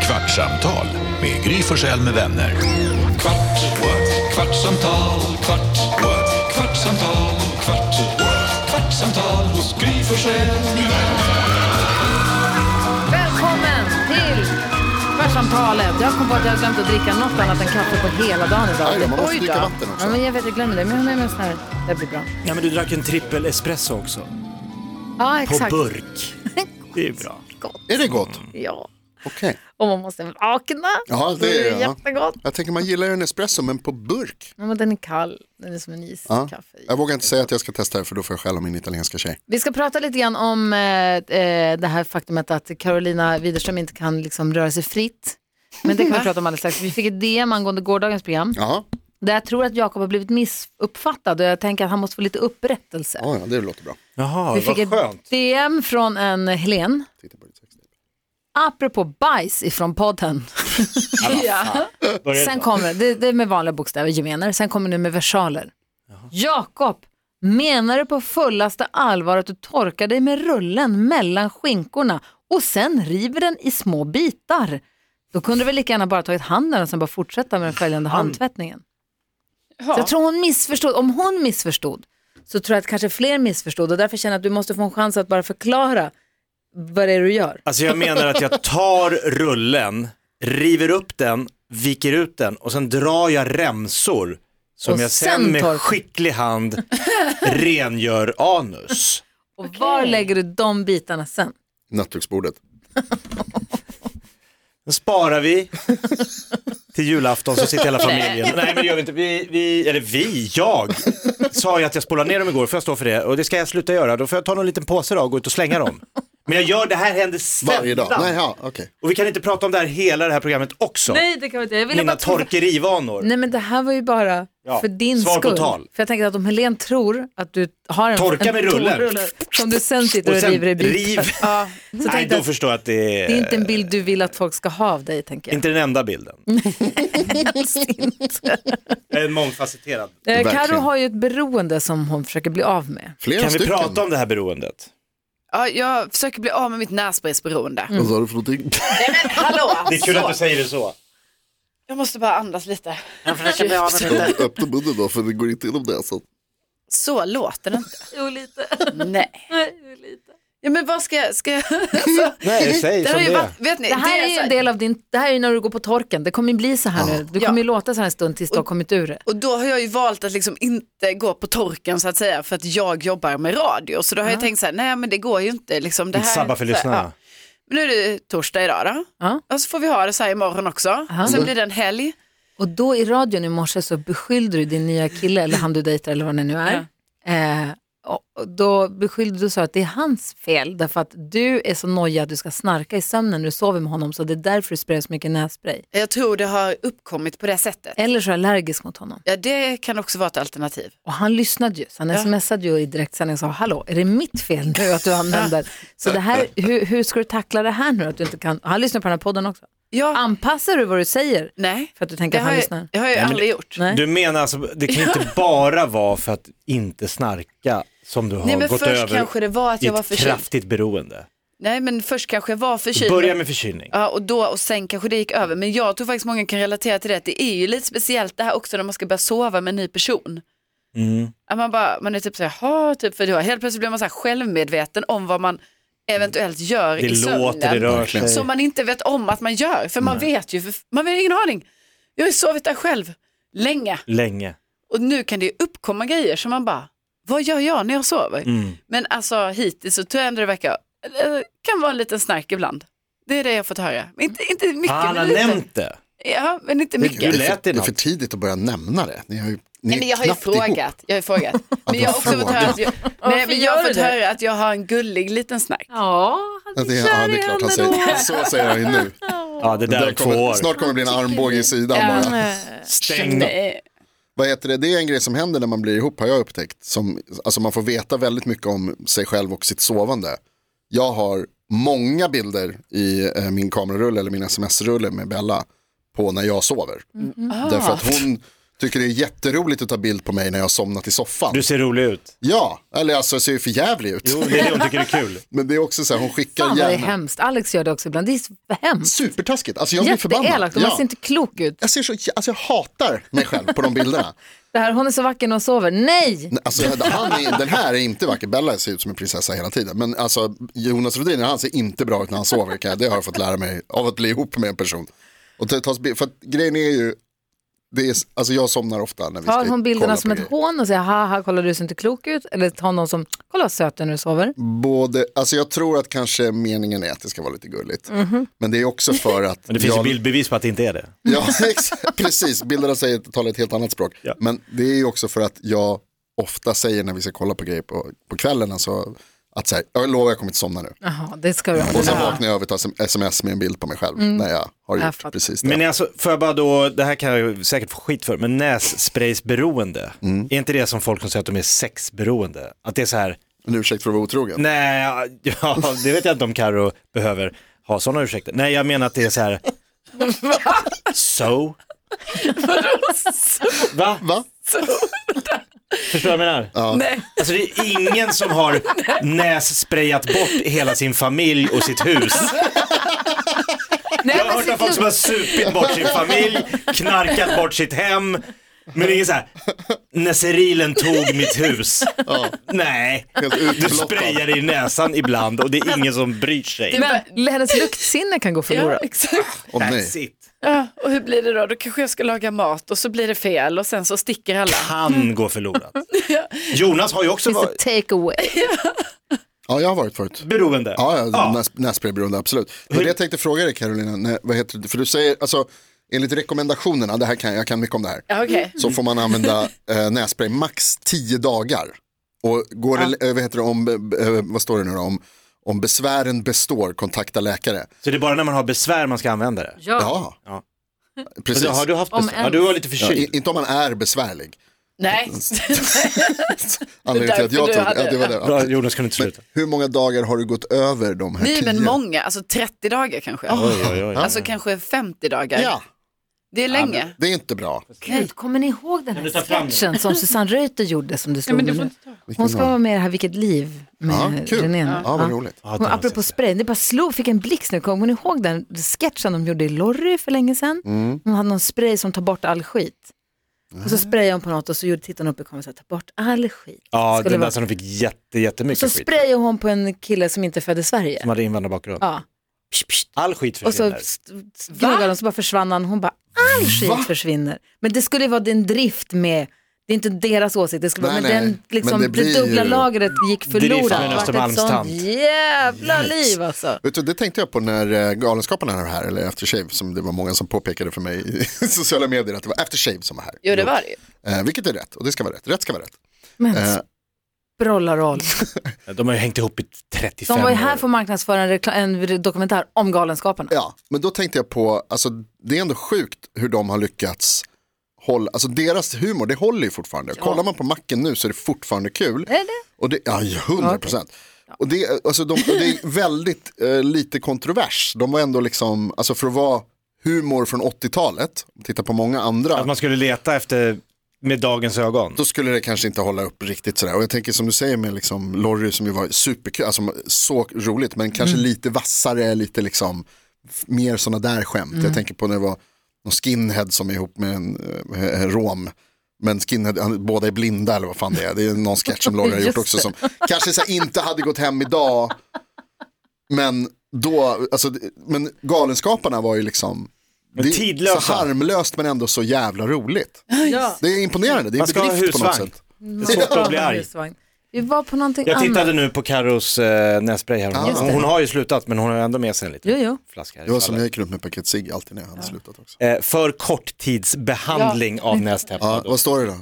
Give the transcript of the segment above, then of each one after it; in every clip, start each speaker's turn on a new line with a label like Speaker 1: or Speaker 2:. Speaker 1: Kvartsamtal med Gry Forssell med vänner. Kvart, what? kvartsamtal, kvart, what? kvartsamtal, kvart, what? kvartsamtal hos Gry Forssell med vänner.
Speaker 2: Välkommen till Kvartsamtalet. Jag kom på att jag har glömt att dricka något annat än kaffe på hela dagen idag.
Speaker 3: Aj då, man måste
Speaker 2: Oj då.
Speaker 3: dricka vatten också.
Speaker 2: Ja, men jag vet, jag glömde det. Men jag har med mig en sån här. Det blir bra.
Speaker 4: Ja, men du drack en trippel espresso också.
Speaker 2: Ja,
Speaker 4: På
Speaker 2: exakt.
Speaker 4: burk. Det är bra.
Speaker 2: Gott.
Speaker 3: Är det gott?
Speaker 4: Mm.
Speaker 2: Ja.
Speaker 3: Okej.
Speaker 2: Och man måste vakna.
Speaker 3: Ja, det är det, ja.
Speaker 2: jättegott.
Speaker 3: Jag tänker man gillar ju en espresso, men på burk.
Speaker 2: Ja, men den är kall. Den är som en
Speaker 3: Ja.
Speaker 2: iskaffe. i.
Speaker 3: Jag vågar inte säga att jag ska testa det, för då får jag skäll av min italienska tjej.
Speaker 2: Vi ska prata lite grann om eh, eh, det här faktumet att Carolina Widerström inte kan liksom röra sig fritt. Men det kan vi prata om alldeles strax. Vi fick ett DM angående gårdagens program.
Speaker 3: Jaha,
Speaker 2: Där jag tror att Jakob har blivit missuppfattad och jag tänker att han måste få lite upprättelse.
Speaker 3: ja, ja, det låter bra.
Speaker 4: Jaha,
Speaker 2: Vi fick
Speaker 4: vad
Speaker 2: ett
Speaker 4: skönt.
Speaker 2: DM från en Helen.
Speaker 3: Titta på ditt sextape.
Speaker 2: Apropå bajs ifrån podden. ja.
Speaker 4: Börjar
Speaker 2: Sen
Speaker 4: det.
Speaker 2: kommer det, det är med vanliga bokstäver, gemener. Sen kommer det med versaler. Jakob, menar du på fullaste allvar att du torkar dig med rullen mellan skinkorna och sen river den i små bitar? Då kunde du väl lika gärna bara tagit handen och sen bara fortsätta med den följande handtvättningen. Så jag tror hon missförstod. Om hon missförstod så tror jag att kanske fler missförstod och därför känner jag att du måste få en chans att bara förklara vad det är du gör.
Speaker 4: Alltså jag menar att jag tar rullen, river upp den, viker ut den och sen drar jag remsor som
Speaker 2: Och
Speaker 4: jag
Speaker 2: sen
Speaker 4: sen
Speaker 2: torkar.
Speaker 4: med skicklig hand rengör anus.
Speaker 2: Och var lägger du de bitarna sen?
Speaker 3: Nattduksbordet.
Speaker 4: Sen sparar vi till julafton så sitter hela familjen. Nej men gör vi inte, vi, vi eller vi, jag sa ju att jag spolade ner dem igår, får jag stå för det? Och det ska jag sluta göra, då får jag ta någon liten påse då och gå ut och slänga dem. Men jag gör, det här händer
Speaker 3: Varje
Speaker 4: sällan.
Speaker 3: dag. Nej, ja, okej.
Speaker 4: Och vi kan inte prata om det här hela det här programmet också.
Speaker 2: Nej, det kan vi inte. Jag ville
Speaker 4: Mina
Speaker 2: bara
Speaker 4: torkerivanor.
Speaker 2: Nej, men det här var ju bara
Speaker 4: Ja,
Speaker 2: för din
Speaker 4: svar på
Speaker 2: skull.
Speaker 4: tal.
Speaker 2: För jag tänker att om Helen tror att du har en,
Speaker 4: Torka
Speaker 2: en
Speaker 4: med rullen.
Speaker 2: torrrulle som du sen sitter och,
Speaker 4: Och sen
Speaker 2: river i bitar.
Speaker 4: riv.
Speaker 2: Ja, så
Speaker 4: Nej,
Speaker 2: tänkte
Speaker 4: då
Speaker 2: jag att
Speaker 4: förstår jag att det är,
Speaker 2: det är inte en bild du vill att folk ska ha av dig, tänker jag.
Speaker 4: inte den enda bilden.
Speaker 2: Mm. Helst inte.
Speaker 4: En mångfacetterad.
Speaker 2: Eh, Karo
Speaker 3: Verkligen.
Speaker 2: har ju ett beroende som hon försöker bli av med.
Speaker 3: Flera
Speaker 4: Kan vi
Speaker 3: stycken.
Speaker 4: prata om det här beroendet?
Speaker 5: Ja, jag försöker bli av med mitt nässprejsberoende.
Speaker 2: Mm.
Speaker 3: Vad sa du för någonting?
Speaker 5: Hallå!
Speaker 4: Det är kul att
Speaker 2: Alltså-
Speaker 4: du säger det så.
Speaker 5: Jag måste bara andas lite.
Speaker 3: Öppna munnen då, för det går inte genom näsan.
Speaker 5: Så låter det inte.
Speaker 2: Jo, lite.
Speaker 5: Nej. Ja, men vad ska jag... Ska jag
Speaker 4: Nej, säg
Speaker 5: det har
Speaker 4: som
Speaker 5: ju
Speaker 4: det är.
Speaker 5: varit, vet ni,
Speaker 2: Det här är ju
Speaker 5: så
Speaker 2: en del av din, det här är ju när du går på torken, det kommer ju bli så här nu. Du
Speaker 5: Ja.
Speaker 2: kommer ju låta så här en stund tills du har kommit ur det.
Speaker 5: Och då har jag ju valt att liksom inte gå på torken så att säga för att jag jobbar med radio. Så då har jag tänkt så här, nej men det går ju inte liksom. Det
Speaker 4: Inte
Speaker 5: här,
Speaker 4: sabba för
Speaker 5: så här,
Speaker 4: lyssnarna.
Speaker 5: ja. Men nu är det torsdag idag då.
Speaker 2: Ja.
Speaker 5: Och så får vi ha det så här imorgon också.
Speaker 2: Aha.
Speaker 5: Sen blir det en helg.
Speaker 2: Och då i radion i morse så beskyllde du din nya kille, eller han du dejtar eller vad det nu är. Eh, och och då beskyllde du och sa att det är hans fel, därför att du är så nojig att du ska snarka i sömnen när du sover med honom, så det är därför du sprayar så mycket nässpray.
Speaker 5: Jag tror det har uppkommit på det sättet.
Speaker 2: Eller så är du allergisk mot honom.
Speaker 5: Ja, det kan också vara ett alternativ.
Speaker 2: Och han lyssnade ju, så han smsade ju i direktsändning och sa, hallå, är det mitt fel nu att du använder? Så det här, hur, hur ska du tackla det här nu? Att du inte kan... Han lyssnar på den här podden också.
Speaker 5: Ja,
Speaker 2: Anpassar du vad du säger?
Speaker 5: nej.
Speaker 2: För att du tänker
Speaker 5: Det
Speaker 2: att
Speaker 5: har
Speaker 2: han
Speaker 5: jag,
Speaker 2: lyssnar?
Speaker 5: det har jag
Speaker 4: men
Speaker 5: aldrig gjort.
Speaker 2: Nej.
Speaker 4: Du menar alltså, det kan inte bara vara för att inte snarka som du har
Speaker 5: Nej men
Speaker 4: gått
Speaker 5: först
Speaker 4: över
Speaker 5: kanske det var att
Speaker 4: i
Speaker 5: jag
Speaker 4: ett
Speaker 5: var förkyld.
Speaker 4: kraftigt beroende.
Speaker 5: Nej men först kanske jag var förkyld.
Speaker 4: Börja med förkylning.
Speaker 5: Ja och då och sen kanske det gick över. Men jag tror faktiskt många kan relatera till det. att Det är ju lite speciellt det här också när man ska börja sova med en ny person.
Speaker 4: Mm.
Speaker 5: Att man bara, man är typ så här, "Jaha", typ för då helt plötsligt blir man så här självmedveten om vad man eventuellt gör
Speaker 4: Det
Speaker 5: i
Speaker 4: låter, det
Speaker 5: sömnen.
Speaker 4: rör sig.
Speaker 5: Som man inte vet om att man gör. För man vet ju, för man har ingen aning. Jag har ju sovit där själv länge.
Speaker 4: Länge.
Speaker 5: Och nu kan det ju uppkomma grejer som man bara, vad gör jag när jag sover? Men alltså hittills så tror jag ändå det verkar, eh, kan vara en liten snark ibland. Det är det jag har fått höra. Men inte, inte mycket.
Speaker 4: Ah, han
Speaker 5: men
Speaker 4: har
Speaker 5: lite.
Speaker 4: nämnt det.
Speaker 5: Ja, men inte
Speaker 3: Det
Speaker 5: mycket.
Speaker 3: är,
Speaker 4: Hur
Speaker 3: för,
Speaker 4: lät
Speaker 3: det
Speaker 4: det
Speaker 3: är för
Speaker 4: något?
Speaker 3: tidigt att börja nämna det. Ni har ju, ni är
Speaker 5: Nej, men jag har ju
Speaker 3: knappt ihop.
Speaker 5: frågat. Jag har ju frågat. Men jag har också fått höra att jag, nej, men jag har
Speaker 2: gör
Speaker 5: fått
Speaker 2: du det?
Speaker 5: höra att jag har en gullig liten snark.
Speaker 2: Ja,
Speaker 3: Ja,
Speaker 2: han
Speaker 3: det, är- Alltså, ja, det är klart, han säger, så säger han ju nu.
Speaker 4: Ja, det där är två
Speaker 3: kommer,
Speaker 4: år.
Speaker 3: snart kommer det bli en armbåge i sidan bara.
Speaker 5: Eh,
Speaker 4: Stäng dem.
Speaker 5: Nej.
Speaker 3: Vad heter det? det är en grej som händer när man blir ihop har jag upptäckt. Som, alltså man får veta väldigt mycket om sig själv och sitt sovande. Jag har många bilder i eh, min
Speaker 2: Mm.
Speaker 4: Mm.
Speaker 2: Ah.
Speaker 3: kamerarulle eller min sms-rulle med Bella på när jag sover. Därför att hon tycker det är jätteroligt att ta bild på mig när jag har somnat i soffan.
Speaker 4: Du ser rolig ut.
Speaker 3: Ja, eller alltså jag ser ju för jävlig ut.
Speaker 4: Jo, det är det hon tycker är kul.
Speaker 3: Men det är också så här, hon skickar
Speaker 2: Fan vad det är
Speaker 3: gärna.
Speaker 2: hemskt. Alex gör det också ibland. Det är så hemskt.
Speaker 3: Supertaskigt, alltså jag blir förbannad.
Speaker 2: Jätteelakt och man
Speaker 3: Ja.
Speaker 2: ser inte klok ut.
Speaker 3: Jag, ser så, jä- alltså jag hatar mig själv på de bilderna.
Speaker 2: Det här, hon är så vacker när hon sover. Nej!
Speaker 3: Alltså, han är, den här är inte vacker, Bella ser ut som en prinsessa hela tiden. Men alltså, Jonas Rhodiner, han ser inte bra ut när han sover. kan jag- Det har jag fått lära mig av att bli ihop med en person. Och ta, ta, för att, grejen är ju, det är, alltså jag somnar ofta när vi
Speaker 2: Tar
Speaker 3: ska
Speaker 2: hon
Speaker 3: kolla
Speaker 2: bilderna som
Speaker 3: på
Speaker 2: ett
Speaker 3: grejer.
Speaker 2: hån och säger haha, kolla du ser inte klok ut. Eller tar någon som, kolla vad söt du är när du sover.
Speaker 3: Både, alltså jag tror att kanske meningen är att det ska vara lite gulligt.
Speaker 2: Mhm.
Speaker 3: Men det är också för att...
Speaker 4: Men det finns
Speaker 3: jag,
Speaker 4: ju bildbevis på att det inte är det.
Speaker 3: Ja, ex- precis. Bilderna säger, talar ett helt annat språk.
Speaker 4: Ja.
Speaker 3: Men det är ju också för att jag ofta säger när vi ska kolla på grejer på, på kvällen, alltså, att så här, jag lovar jag kommer inte somna nu.
Speaker 2: Jaha, det ska du ha.
Speaker 3: Och sen vaknar jag av ett sm- sms med en bild på mig själv när jag har
Speaker 2: Mm. Jag
Speaker 3: gjort
Speaker 2: fattar.
Speaker 3: precis det.
Speaker 4: Men alltså, får jag bara då, det här kan jag säkert få skit för, men nässpraysberoende, är inte det som folk som säger att de är sexberoende? Att det är så här,
Speaker 3: En ursäkt för att vara otrogen.
Speaker 4: nej, ja, det vet jag inte om Karo behöver ha sådana ursäkter. Nej, jag menar att det är så här, so? Va?
Speaker 3: Va?
Speaker 4: Förstår du vad jag menar?
Speaker 5: Nej.
Speaker 4: Alltså det är ingen som har nässprayat bort hela sin familj och sitt hus.
Speaker 2: Nej,
Speaker 4: Jag har hört
Speaker 2: men
Speaker 4: om folk
Speaker 2: sitt
Speaker 4: som har supit bort sin familj, knarkat bort sitt hem. Men det är så här, näserilen tog mitt hus. Nej,
Speaker 3: Helt
Speaker 4: du
Speaker 3: utblottad.
Speaker 4: sprayar i näsan ibland och det är ingen som bryr sig.
Speaker 2: Men hennes luktsinne kan gå
Speaker 5: Ja,
Speaker 2: förlorat.
Speaker 5: exakt.
Speaker 3: Åh
Speaker 4: That's
Speaker 3: nej.
Speaker 4: it.
Speaker 5: Ja, och hur blir det då? Då kanske jag ska laga mat och så blir det fel och sen så sticker
Speaker 2: Mm.
Speaker 5: alla.
Speaker 4: Han går förlorad. Jonas har ju också
Speaker 2: It's a
Speaker 4: varit
Speaker 2: take away.
Speaker 3: Ja, jag har varit förut.
Speaker 4: beroende.
Speaker 3: Ja, ja, Näs, nässprayberoende, absolut. Men det jag tänkte fråga dig Carolina, när, vad heter det? för du säger, alltså, enligt rekommendationerna, det här kan, jag kan mycket om det här.
Speaker 5: Ja, okej.
Speaker 4: Mm.
Speaker 3: så får man använda eh, nässpray max 10 dagar. Och går det, eh, vad heter det, om, eh, vad står det nu då, om, om besvären består, kontakta läkare.
Speaker 4: Så det är bara när man har besvär man ska använda det.
Speaker 3: Ja,
Speaker 4: Ja.
Speaker 3: precis.
Speaker 4: Men Har du haft
Speaker 2: Om
Speaker 4: besvär? Ja,
Speaker 2: ens.
Speaker 4: du var lite
Speaker 3: Ja, i,
Speaker 4: förkyld.
Speaker 3: inte om man är besvärlig.
Speaker 5: Nej.
Speaker 3: Anledningen till att jag
Speaker 5: därför
Speaker 3: trodde,
Speaker 5: du hade-
Speaker 3: ja, det var det.
Speaker 4: Bra,
Speaker 3: Ja.
Speaker 4: Jonas kunde inte
Speaker 3: Men
Speaker 4: sluta.
Speaker 3: hur många dagar har du gått över de här
Speaker 5: Nej,
Speaker 3: 10?
Speaker 5: men många, alltså 30 dagar kanske.
Speaker 4: Oj, oj, oj.
Speaker 5: Alltså kanske 50 dagar.
Speaker 3: Ja,
Speaker 5: Det är länge.
Speaker 3: det är inte bra.
Speaker 2: Gud, kommer ni ihåg den
Speaker 4: du
Speaker 2: här
Speaker 4: ta fram den?
Speaker 2: sketchen som Susanne Reuter gjorde som du slog
Speaker 5: men det
Speaker 2: med
Speaker 5: får
Speaker 2: nu?
Speaker 5: inte
Speaker 2: Hon ska
Speaker 3: då?
Speaker 2: vara med i det här Vilket liv
Speaker 3: Ja,
Speaker 2: med
Speaker 3: kul.
Speaker 2: René.
Speaker 3: Ja, vad roligt.
Speaker 4: Ja, det
Speaker 2: Och
Speaker 4: måste
Speaker 2: apropå
Speaker 4: jag säga.
Speaker 2: spray, det bara slog, fick en blixt nu. Kommer ni ihåg den sketchen de gjorde i Lorry för länge sedan?
Speaker 4: Mm.
Speaker 2: Hon hade någon spray som tar bort all skit. Och så sprayade hon på något och så gjorde- tittade hon upp i kameran och sa ta bort all skit.
Speaker 4: Ja,
Speaker 2: Skulle
Speaker 4: den där
Speaker 2: vara-
Speaker 4: som de fick jätte,
Speaker 2: så
Speaker 4: jättemycket skit.
Speaker 2: sprayade hon på en kille som inte är född i Sverige.
Speaker 4: Som hade invandrarbakgrund.
Speaker 2: Ja. Psh, psh,
Speaker 4: All skit
Speaker 2: och så
Speaker 4: försvinner.
Speaker 2: st- st- gnuggade hon så bara försvann han. Hon bara all skit försvinner. Men det skulle ju vara din drift med det är inte deras åsikt, det skulle vara,
Speaker 3: Nej,
Speaker 2: men,
Speaker 3: nej.
Speaker 2: den, liksom,
Speaker 3: Men det
Speaker 2: det,
Speaker 3: blir
Speaker 2: dubbla
Speaker 3: ju-
Speaker 2: lagret gick förlorat.
Speaker 4: med
Speaker 2: Det
Speaker 4: Öster
Speaker 2: vart ett sånt
Speaker 4: Malmstant.
Speaker 2: jävla liv alltså.
Speaker 3: Vet du, det tänkte jag på när eh, Galenskaparna var här, eller After Shave, som det var många som påpekade för mig i sociala medier att det var After Shave som var här.
Speaker 5: Jo, det var det ju.
Speaker 3: Eh, vilket är rätt, och det ska vara rätt. Rätt ska vara rätt.
Speaker 2: Men
Speaker 3: Eh,
Speaker 2: Brollarroll.
Speaker 4: De har ju hängt ihop i 35
Speaker 2: De var ju här
Speaker 4: år.
Speaker 2: för att marknadsföra en, rekla- en dokumentär om Galenskaparna.
Speaker 3: Ja, men då tänkte jag på, alltså, det är ändå sjukt hur de har lyckats hålla, alltså deras humor, det håller ju fortfarande. Kollar man på macken nu så är det fortfarande kul.
Speaker 2: Är det?
Speaker 3: Och det, ja, ju, 100 procent. Och det, alltså, de, och det är väldigt eh, lite kontrovers. De var ändå liksom, alltså för att vara humor från 80-talet, om titta på många andra,
Speaker 4: Att man skulle leta efter med dagens ögon.
Speaker 3: då skulle det kanske inte hålla upp riktigt sådär. Och jag tänker som du säger med liksom Lorry som ju var superkul, alltså så roligt, men kanske lite vassare, lite liksom f- mer sådana där skämt. Jag tänker på när det var någon skinhead som är ihop med en, eh, en rom. Men skinhead, han, båda är blinda eller vad fan det är. Det är någon sketch som Lorry har gjort
Speaker 2: Just
Speaker 3: också som kanske så här, inte hade gått hem idag. Men då, alltså, det- men Galenskaparna var ju liksom
Speaker 4: Men
Speaker 3: det är
Speaker 4: tidlösa.
Speaker 3: så harmlöst men ändå så jävla roligt.
Speaker 2: Ja.
Speaker 3: Det är imponerande, det är
Speaker 4: Man
Speaker 3: en
Speaker 4: ska ha
Speaker 3: bedrift på något
Speaker 4: husvagn.
Speaker 3: sätt.
Speaker 4: Det är svårt att bli arg.
Speaker 2: Vi var på någonting
Speaker 4: Jag tittade
Speaker 2: annat.
Speaker 4: nu på Carros eh, nässpray här. Hon,
Speaker 3: Just
Speaker 4: hon, hon har ju slutat men hon har ju ändå med sig en liten
Speaker 2: Jo, jo.
Speaker 4: flaska. Här i
Speaker 3: Det var som jag
Speaker 4: fallet.
Speaker 3: gick runt med ett paket cigg alltid när jag hade slutat också.
Speaker 4: eh, för korttidsbehandling av nästäppa.
Speaker 3: Ja, vad står det då?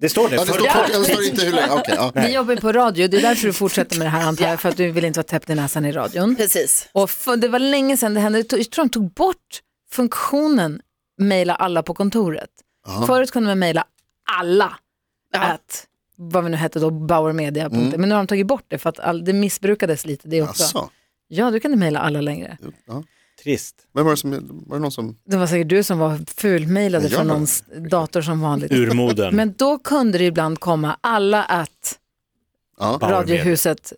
Speaker 4: Det står det.
Speaker 3: Ja, det
Speaker 4: för
Speaker 3: står,
Speaker 4: kort-
Speaker 3: kort, ja, det står inte hur länge, okej. ja.
Speaker 2: Vi jobbar ju på radio, det är därför du fortsätter med det här antar jag, för att du vill inte vara täppt i näsan i radion.
Speaker 5: Precis.
Speaker 2: Och för, det var länge sedan det hände, jag tror de tog bort funktionen mejla alla på kontoret. Förut kunde man mejla alla
Speaker 5: Ja.
Speaker 2: at vad vi nu hette då, bauermedia. Men nu har de tagit bort det för att all, det missbrukades lite det också.
Speaker 3: Mm. Jaså?
Speaker 2: Ja, du kan inte mejla alla längre.
Speaker 3: Ja.
Speaker 4: Trist.
Speaker 3: Vem var det som, var det någon som,
Speaker 2: Det var säkert du som var fulmejlade
Speaker 3: Jag
Speaker 2: från
Speaker 3: var-
Speaker 2: någons dator som vanligt.
Speaker 4: Urmoden.
Speaker 2: Men då kunde det ibland komma alla att
Speaker 3: ja,
Speaker 4: Bauer med.
Speaker 2: Radiohuset,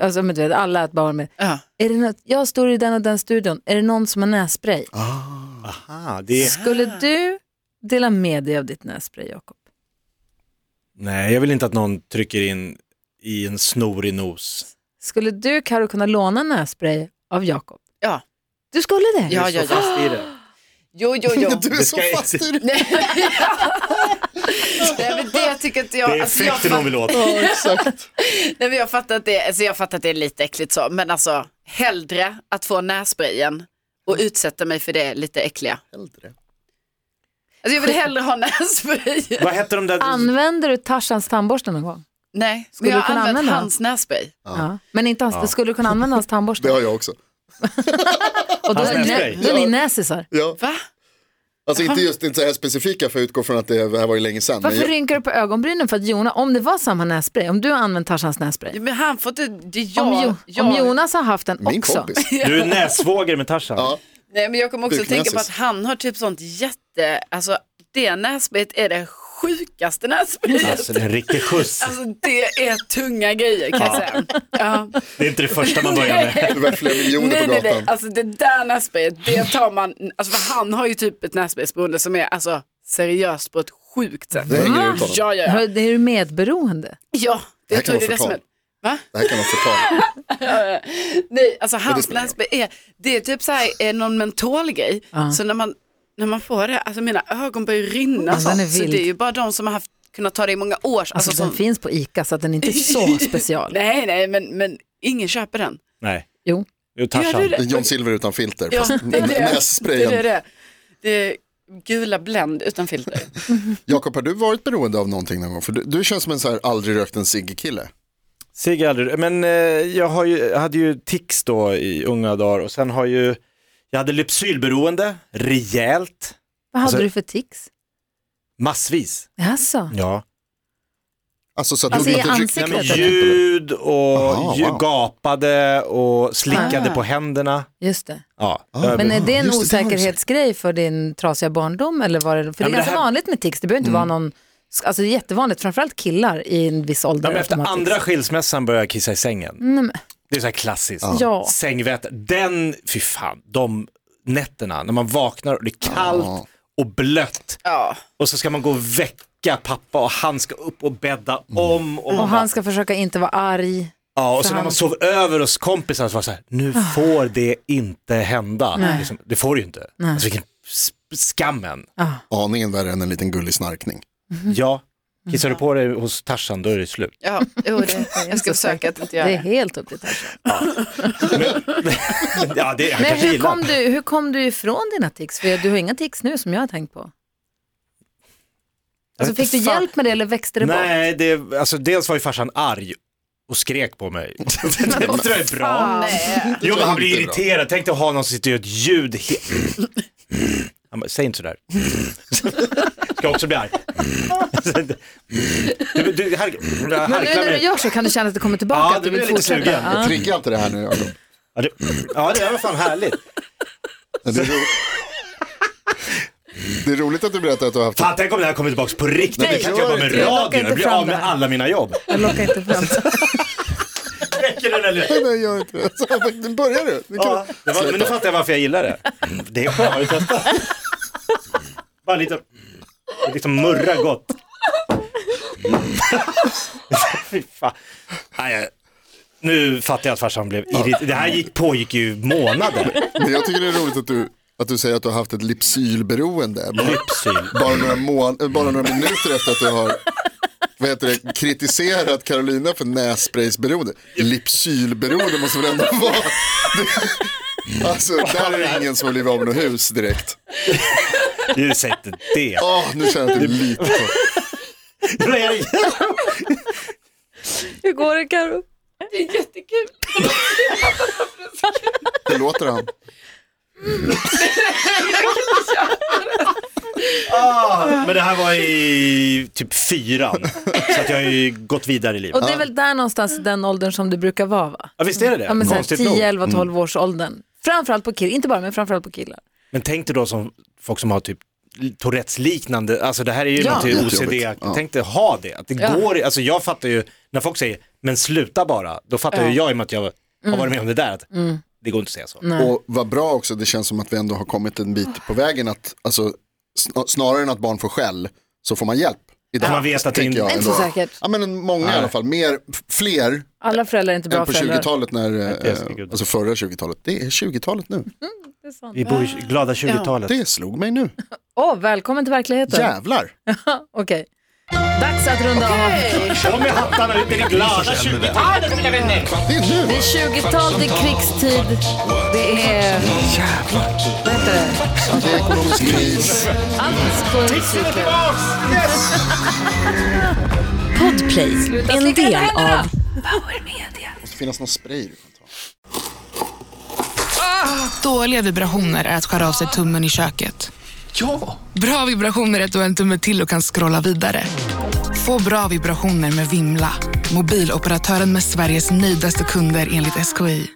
Speaker 2: alltså men du vet, alla att Bauer med.
Speaker 5: Ja.
Speaker 2: Är det något, jag står i den och den studion, är det någon som har nässpray?
Speaker 3: Ah.
Speaker 4: Aha, det är...
Speaker 2: Skulle du dela med dig av ditt nässpray, Jakob?
Speaker 4: Nej, jag vill inte att någon trycker in i en snorig nos.
Speaker 2: Skulle du, Karo, kunna låna nässpray av Jakob?
Speaker 5: Ja.
Speaker 2: Du skulle det?
Speaker 5: Ja, ja, ja.
Speaker 4: Fast i det.
Speaker 5: Jo, jo, jo.
Speaker 3: Du är
Speaker 4: Det
Speaker 3: så
Speaker 4: ska jag-
Speaker 3: fast i det.
Speaker 5: Nej, Nej, men det tycker inte jag.
Speaker 4: Det är
Speaker 5: alltså, jag
Speaker 4: effekten
Speaker 5: fatt-
Speaker 4: hon vill åt.
Speaker 3: Ja, exakt.
Speaker 5: Nej, men jag fattar att det, alltså, jag fattar att det är lite äckligt så, men alltså hellre att få nässprayen och utsätta mig för det lite äckliga.
Speaker 3: Äldre.
Speaker 5: Alltså, jag vill hellre ha nässpray.
Speaker 4: Vad hette de där...
Speaker 2: Använder du Tarzans tandborste någon gång?
Speaker 5: Nej,
Speaker 2: Skulle
Speaker 5: men jag
Speaker 2: du
Speaker 5: har
Speaker 2: kunna
Speaker 5: använt
Speaker 2: använda den?
Speaker 5: hans nässpray.
Speaker 2: Ja. Men inte hans, skulle du kunna använda hans
Speaker 3: Det
Speaker 2: tandborste?
Speaker 3: har jag också.
Speaker 2: och då
Speaker 4: Hans
Speaker 2: är,
Speaker 4: nässpray.
Speaker 2: ni, då är ni näsisar.
Speaker 3: Ja.
Speaker 5: Va?
Speaker 3: Alltså inte just inte så här specifika för jag utgår från att det här var ju länge sedan. Men
Speaker 2: Varför
Speaker 3: jag,
Speaker 2: rynkar du på ögonbrynen för att Jonas, om det var samma nässpray, om du har använt Tarzans nässpray,
Speaker 5: Ja, Men han får inte, det är jag.
Speaker 2: om, jo,
Speaker 5: jag.
Speaker 2: om Jonas har haft den
Speaker 3: min
Speaker 2: också,
Speaker 3: kompis.
Speaker 4: Du är näsvåger med Tarzan.
Speaker 3: Ja.
Speaker 5: Nej, men jag kommer också att tänka på att
Speaker 3: Buknäsis.
Speaker 5: han har typ sånt jätte, alltså det nässprayet är det sjukaste nässprayet.
Speaker 4: Alltså, det är en riktig skjuts.
Speaker 5: Alltså det är tunga grejer kan jag säga. Ja.
Speaker 4: Det är inte det första man börjar med.
Speaker 3: Det var flera miljoner
Speaker 5: Nej,
Speaker 3: på
Speaker 5: nej, nej.
Speaker 3: gatan.
Speaker 5: Alltså det där nässprayet, det tar man, alltså för han har ju typ ett nässpraysberoende som är alltså seriöst på ett sjukt sätt. Mm.
Speaker 3: Det hänger ut honom.
Speaker 5: Ja, ja, ja.
Speaker 2: Hör, det är du medberoende?
Speaker 5: ja
Speaker 3: Det här
Speaker 5: jag
Speaker 3: kan
Speaker 5: tror det
Speaker 3: vara
Speaker 5: är det som är.
Speaker 3: förtal.
Speaker 5: Va?
Speaker 3: Det här kan vara förtal.
Speaker 5: Nej, alltså hans
Speaker 3: spelar ingen roll.
Speaker 5: nässpray är, det är typ så här, är någon mentalgrej. Så när man, när man får det, alltså mina ögon börjar rinna.
Speaker 2: Ja,
Speaker 5: så,
Speaker 2: den är
Speaker 5: så
Speaker 2: vild.
Speaker 5: det är ju bara de som har haft, kunnat ta det i många år. Alltså,
Speaker 2: Alltså, den
Speaker 5: som,
Speaker 2: finns på ICA så att den inte är så special.
Speaker 5: nej, nej, men, men ingen köper den.
Speaker 4: Nej.
Speaker 2: Jo.
Speaker 4: Jo,
Speaker 5: Gör du
Speaker 4: Tarzan.
Speaker 5: det?
Speaker 3: John Silver utan filter.
Speaker 5: Ja,
Speaker 3: fast
Speaker 5: det är det.
Speaker 3: Nässprayen.
Speaker 5: Det är det. Det är gula Blend utan filter.
Speaker 3: Jakob, har du varit beroende av någonting någon gång? För du, du känns som en så här aldrig rökt en cigg-kille.
Speaker 4: Sigge aldrig. Men eh, jag har ju, jag hade ju tics då i unga dagar och sen har ju, jag hade lypsylberoende, rejält,
Speaker 2: Vad hade
Speaker 4: Alltså-
Speaker 2: du för tics?
Speaker 4: massvis.
Speaker 2: Alltså,
Speaker 4: Ja.
Speaker 3: Alltså så att
Speaker 2: Alltså,
Speaker 3: du
Speaker 2: i
Speaker 3: inte tryck-
Speaker 2: ansiktet?
Speaker 4: Nej, men
Speaker 2: Sekretet.
Speaker 4: ljud och
Speaker 3: Aha,
Speaker 4: ljud,
Speaker 3: wow.
Speaker 4: gapade och slickade
Speaker 5: Ah.
Speaker 4: på händerna.
Speaker 2: just det.
Speaker 4: Ja,
Speaker 3: Ah.
Speaker 4: över-
Speaker 2: Men är det en
Speaker 3: just det, det har du
Speaker 2: osäkerhetsgrej för din trasiga barndom? Eller var det, för
Speaker 4: Ja,
Speaker 2: det
Speaker 4: men
Speaker 2: är
Speaker 4: det
Speaker 2: ganska
Speaker 4: här- Mm.
Speaker 2: vanligt med tics, det behöver inte vara någon, alltså det är jättevanligt, framförallt killar i en viss ålder.
Speaker 4: Nej, men efter
Speaker 2: automatiskt.
Speaker 4: andra skilsmässan började jag kissa i sängen.
Speaker 2: Nej, men,
Speaker 4: Det är så här klassiskt.
Speaker 2: Ja.
Speaker 4: Sängväte. Den, fy fan, de nätterna när man vaknar och det är kallt och blött
Speaker 5: Ja.
Speaker 4: och så ska man gå och väcka pappa och han ska upp och bädda om. Och, man
Speaker 2: Mm. och han
Speaker 4: bara,
Speaker 2: ska försöka inte vara arg.
Speaker 4: ja, och
Speaker 2: för Ah.
Speaker 4: så när
Speaker 2: han-
Speaker 4: man sov över hos kompisar så var det så här, nu får det inte hända. Liksom, det får det ju inte. Alltså, vilken s- skammen.
Speaker 3: aningen värre än en liten gullig snarkning.
Speaker 2: Mm-hmm.
Speaker 4: Ja, kissar du på dig hos Tarzan då är det slut.
Speaker 5: Ja, jo, det, jag ska försöka att inte göra
Speaker 2: Det är
Speaker 5: det.
Speaker 2: helt upp till Tarzan.
Speaker 4: ja, det,
Speaker 2: Men
Speaker 4: han kanske
Speaker 2: hur
Speaker 4: gillar.
Speaker 2: kom, du, hur kom du ifrån dina tics? För du har inga tics nu som jag har tänkt på. Alltså,
Speaker 4: vet inte
Speaker 2: fick du
Speaker 4: fan.
Speaker 2: hjälp med det eller växte det bort?
Speaker 4: Nej, det, alltså, dels var ju farsan arg och skrek på mig. det tror jag är bra.
Speaker 5: Nej.
Speaker 4: Jo, men han blir
Speaker 3: Inte bra.
Speaker 4: irriterad. Tänk dig att ha någon som sitter och gör ett ljud. he- Han bara, säg inte sådär. Ska jag också bli arg. du, du, hark,
Speaker 2: Men nu
Speaker 4: harklar
Speaker 2: när du
Speaker 4: mig.
Speaker 2: gör så kan du känna att det kommer tillbaka,
Speaker 4: Ja,
Speaker 2: att du
Speaker 4: nu
Speaker 2: vill
Speaker 4: är jag lite
Speaker 2: fortsätta.
Speaker 4: sugen.
Speaker 2: Ja.
Speaker 3: Trigga inte det här nu Jakob.
Speaker 4: Ja, det, ja, det var fan härligt.
Speaker 3: Men Det, är ro- det är roligt att du berättar att du har haft
Speaker 4: Fan, tänk om det här kommer tillbaka på riktigt.
Speaker 3: Nej,
Speaker 4: jag kan inte
Speaker 3: gör
Speaker 4: jobba med
Speaker 3: inte det.
Speaker 2: Plocka
Speaker 4: radion
Speaker 2: inte
Speaker 4: och bli
Speaker 2: fram
Speaker 4: av
Speaker 2: det
Speaker 4: med
Speaker 2: här.
Speaker 4: alla mina jobb.
Speaker 2: Jag lockar inte fram det.
Speaker 4: Räcker det eller?
Speaker 3: Nej, jag gör inte det. Så, nu börjar du. Nu kan
Speaker 4: Ja, det var, men nu fattar jag varför jag gillar det. Det är skönt, har du testat? Bara lite, det liksom murrar gott. Mm. Fy fan. Nej, jag- nu fattar jag att farsan blev irriterad. Det här gick, pågick ju månader.
Speaker 3: du. Men jag tycker det är roligt att du, att du säger att du har haft ett lipsylberoende. Bara-
Speaker 4: Lypsyl.
Speaker 3: Bara några, mån- äh, bara några minuter efter att du har vad heter det, kritiserat Carolina för nässpraysberoende. Lipsylberoende måste väl ändå vara. Det- Alltså, där är det ingen som har blivit av med något hus direkt.
Speaker 4: Du säger inte det.
Speaker 3: Åh, nu känner jag att det är lite på.
Speaker 4: Nej,
Speaker 2: Hur går det Karo?
Speaker 5: Det är jättekul.
Speaker 3: Det låter han.
Speaker 4: ah, Men det här var i typ fyran. Så att jag har ju gått vidare i
Speaker 2: Och
Speaker 4: livet.
Speaker 2: det är väl där någonstans i den åldern som du brukar vara va?
Speaker 4: Ja, visst är det det?
Speaker 2: Ja men såhär
Speaker 4: Konstigt nog.
Speaker 2: 10, 11, 12 års åldern. Framförallt på killar, inte bara men framförallt på killar.
Speaker 4: Men tänk dig då som folk som har typ Tourettes liknande, alltså det här är ju
Speaker 2: Ja.
Speaker 4: något till OCD,
Speaker 3: Jättejobbigt. Ja.
Speaker 4: tänk dig ha det. Att det
Speaker 2: Ja.
Speaker 4: går, alltså jag fattar ju, när folk säger men sluta bara, då fattar ju jag i och med att jag har varit med om det där, att det går inte att säga så.
Speaker 3: Och vad bra också, det känns som att vi ändå har kommit en bit på vägen att, alltså, sn- snarare än att barn får skäll, så får man hjälp. Idag,
Speaker 4: Man vet att det
Speaker 3: tänker
Speaker 4: inte-
Speaker 3: jag
Speaker 2: Inte så
Speaker 3: ändå.
Speaker 2: säkert.
Speaker 3: Ja men många i alla fall, mer, f- fler
Speaker 2: Alla föräldrar är inte bra
Speaker 3: än på
Speaker 2: föräldrar.
Speaker 3: 20-talet när,
Speaker 4: det
Speaker 3: eh,
Speaker 4: ska gudarna.
Speaker 3: alltså förra 20-talet. Det är 20-talet nu,
Speaker 2: Det är sant.
Speaker 4: Vi bor i glada 20-talet.
Speaker 3: det slog mig nu.
Speaker 2: Åh, välkommen till verkligheten.
Speaker 3: Jävlar.
Speaker 2: Okej. Dags att runda av.
Speaker 4: Kom med hattarna ut i det glada 20-talet!
Speaker 3: Det är nu.
Speaker 2: Det är 20-tal, det är krigstid, det är... Vad heter det?
Speaker 3: Det är ekonomisk kris.
Speaker 2: Allt på musiken.
Speaker 6: Podplay, en
Speaker 2: slicka
Speaker 6: del
Speaker 2: med händerna.
Speaker 6: av
Speaker 3: Det måste finnas någon spray du kan ta.
Speaker 7: Dåliga vibrationer är att skära av sig tummen i köket. Ja! Bra vibrationer är att du har en tumme till och kan scrolla vidare. Få bra vibrationer med Vimla. Mobiloperatören med Sveriges nöjdaste kunder enligt SKI.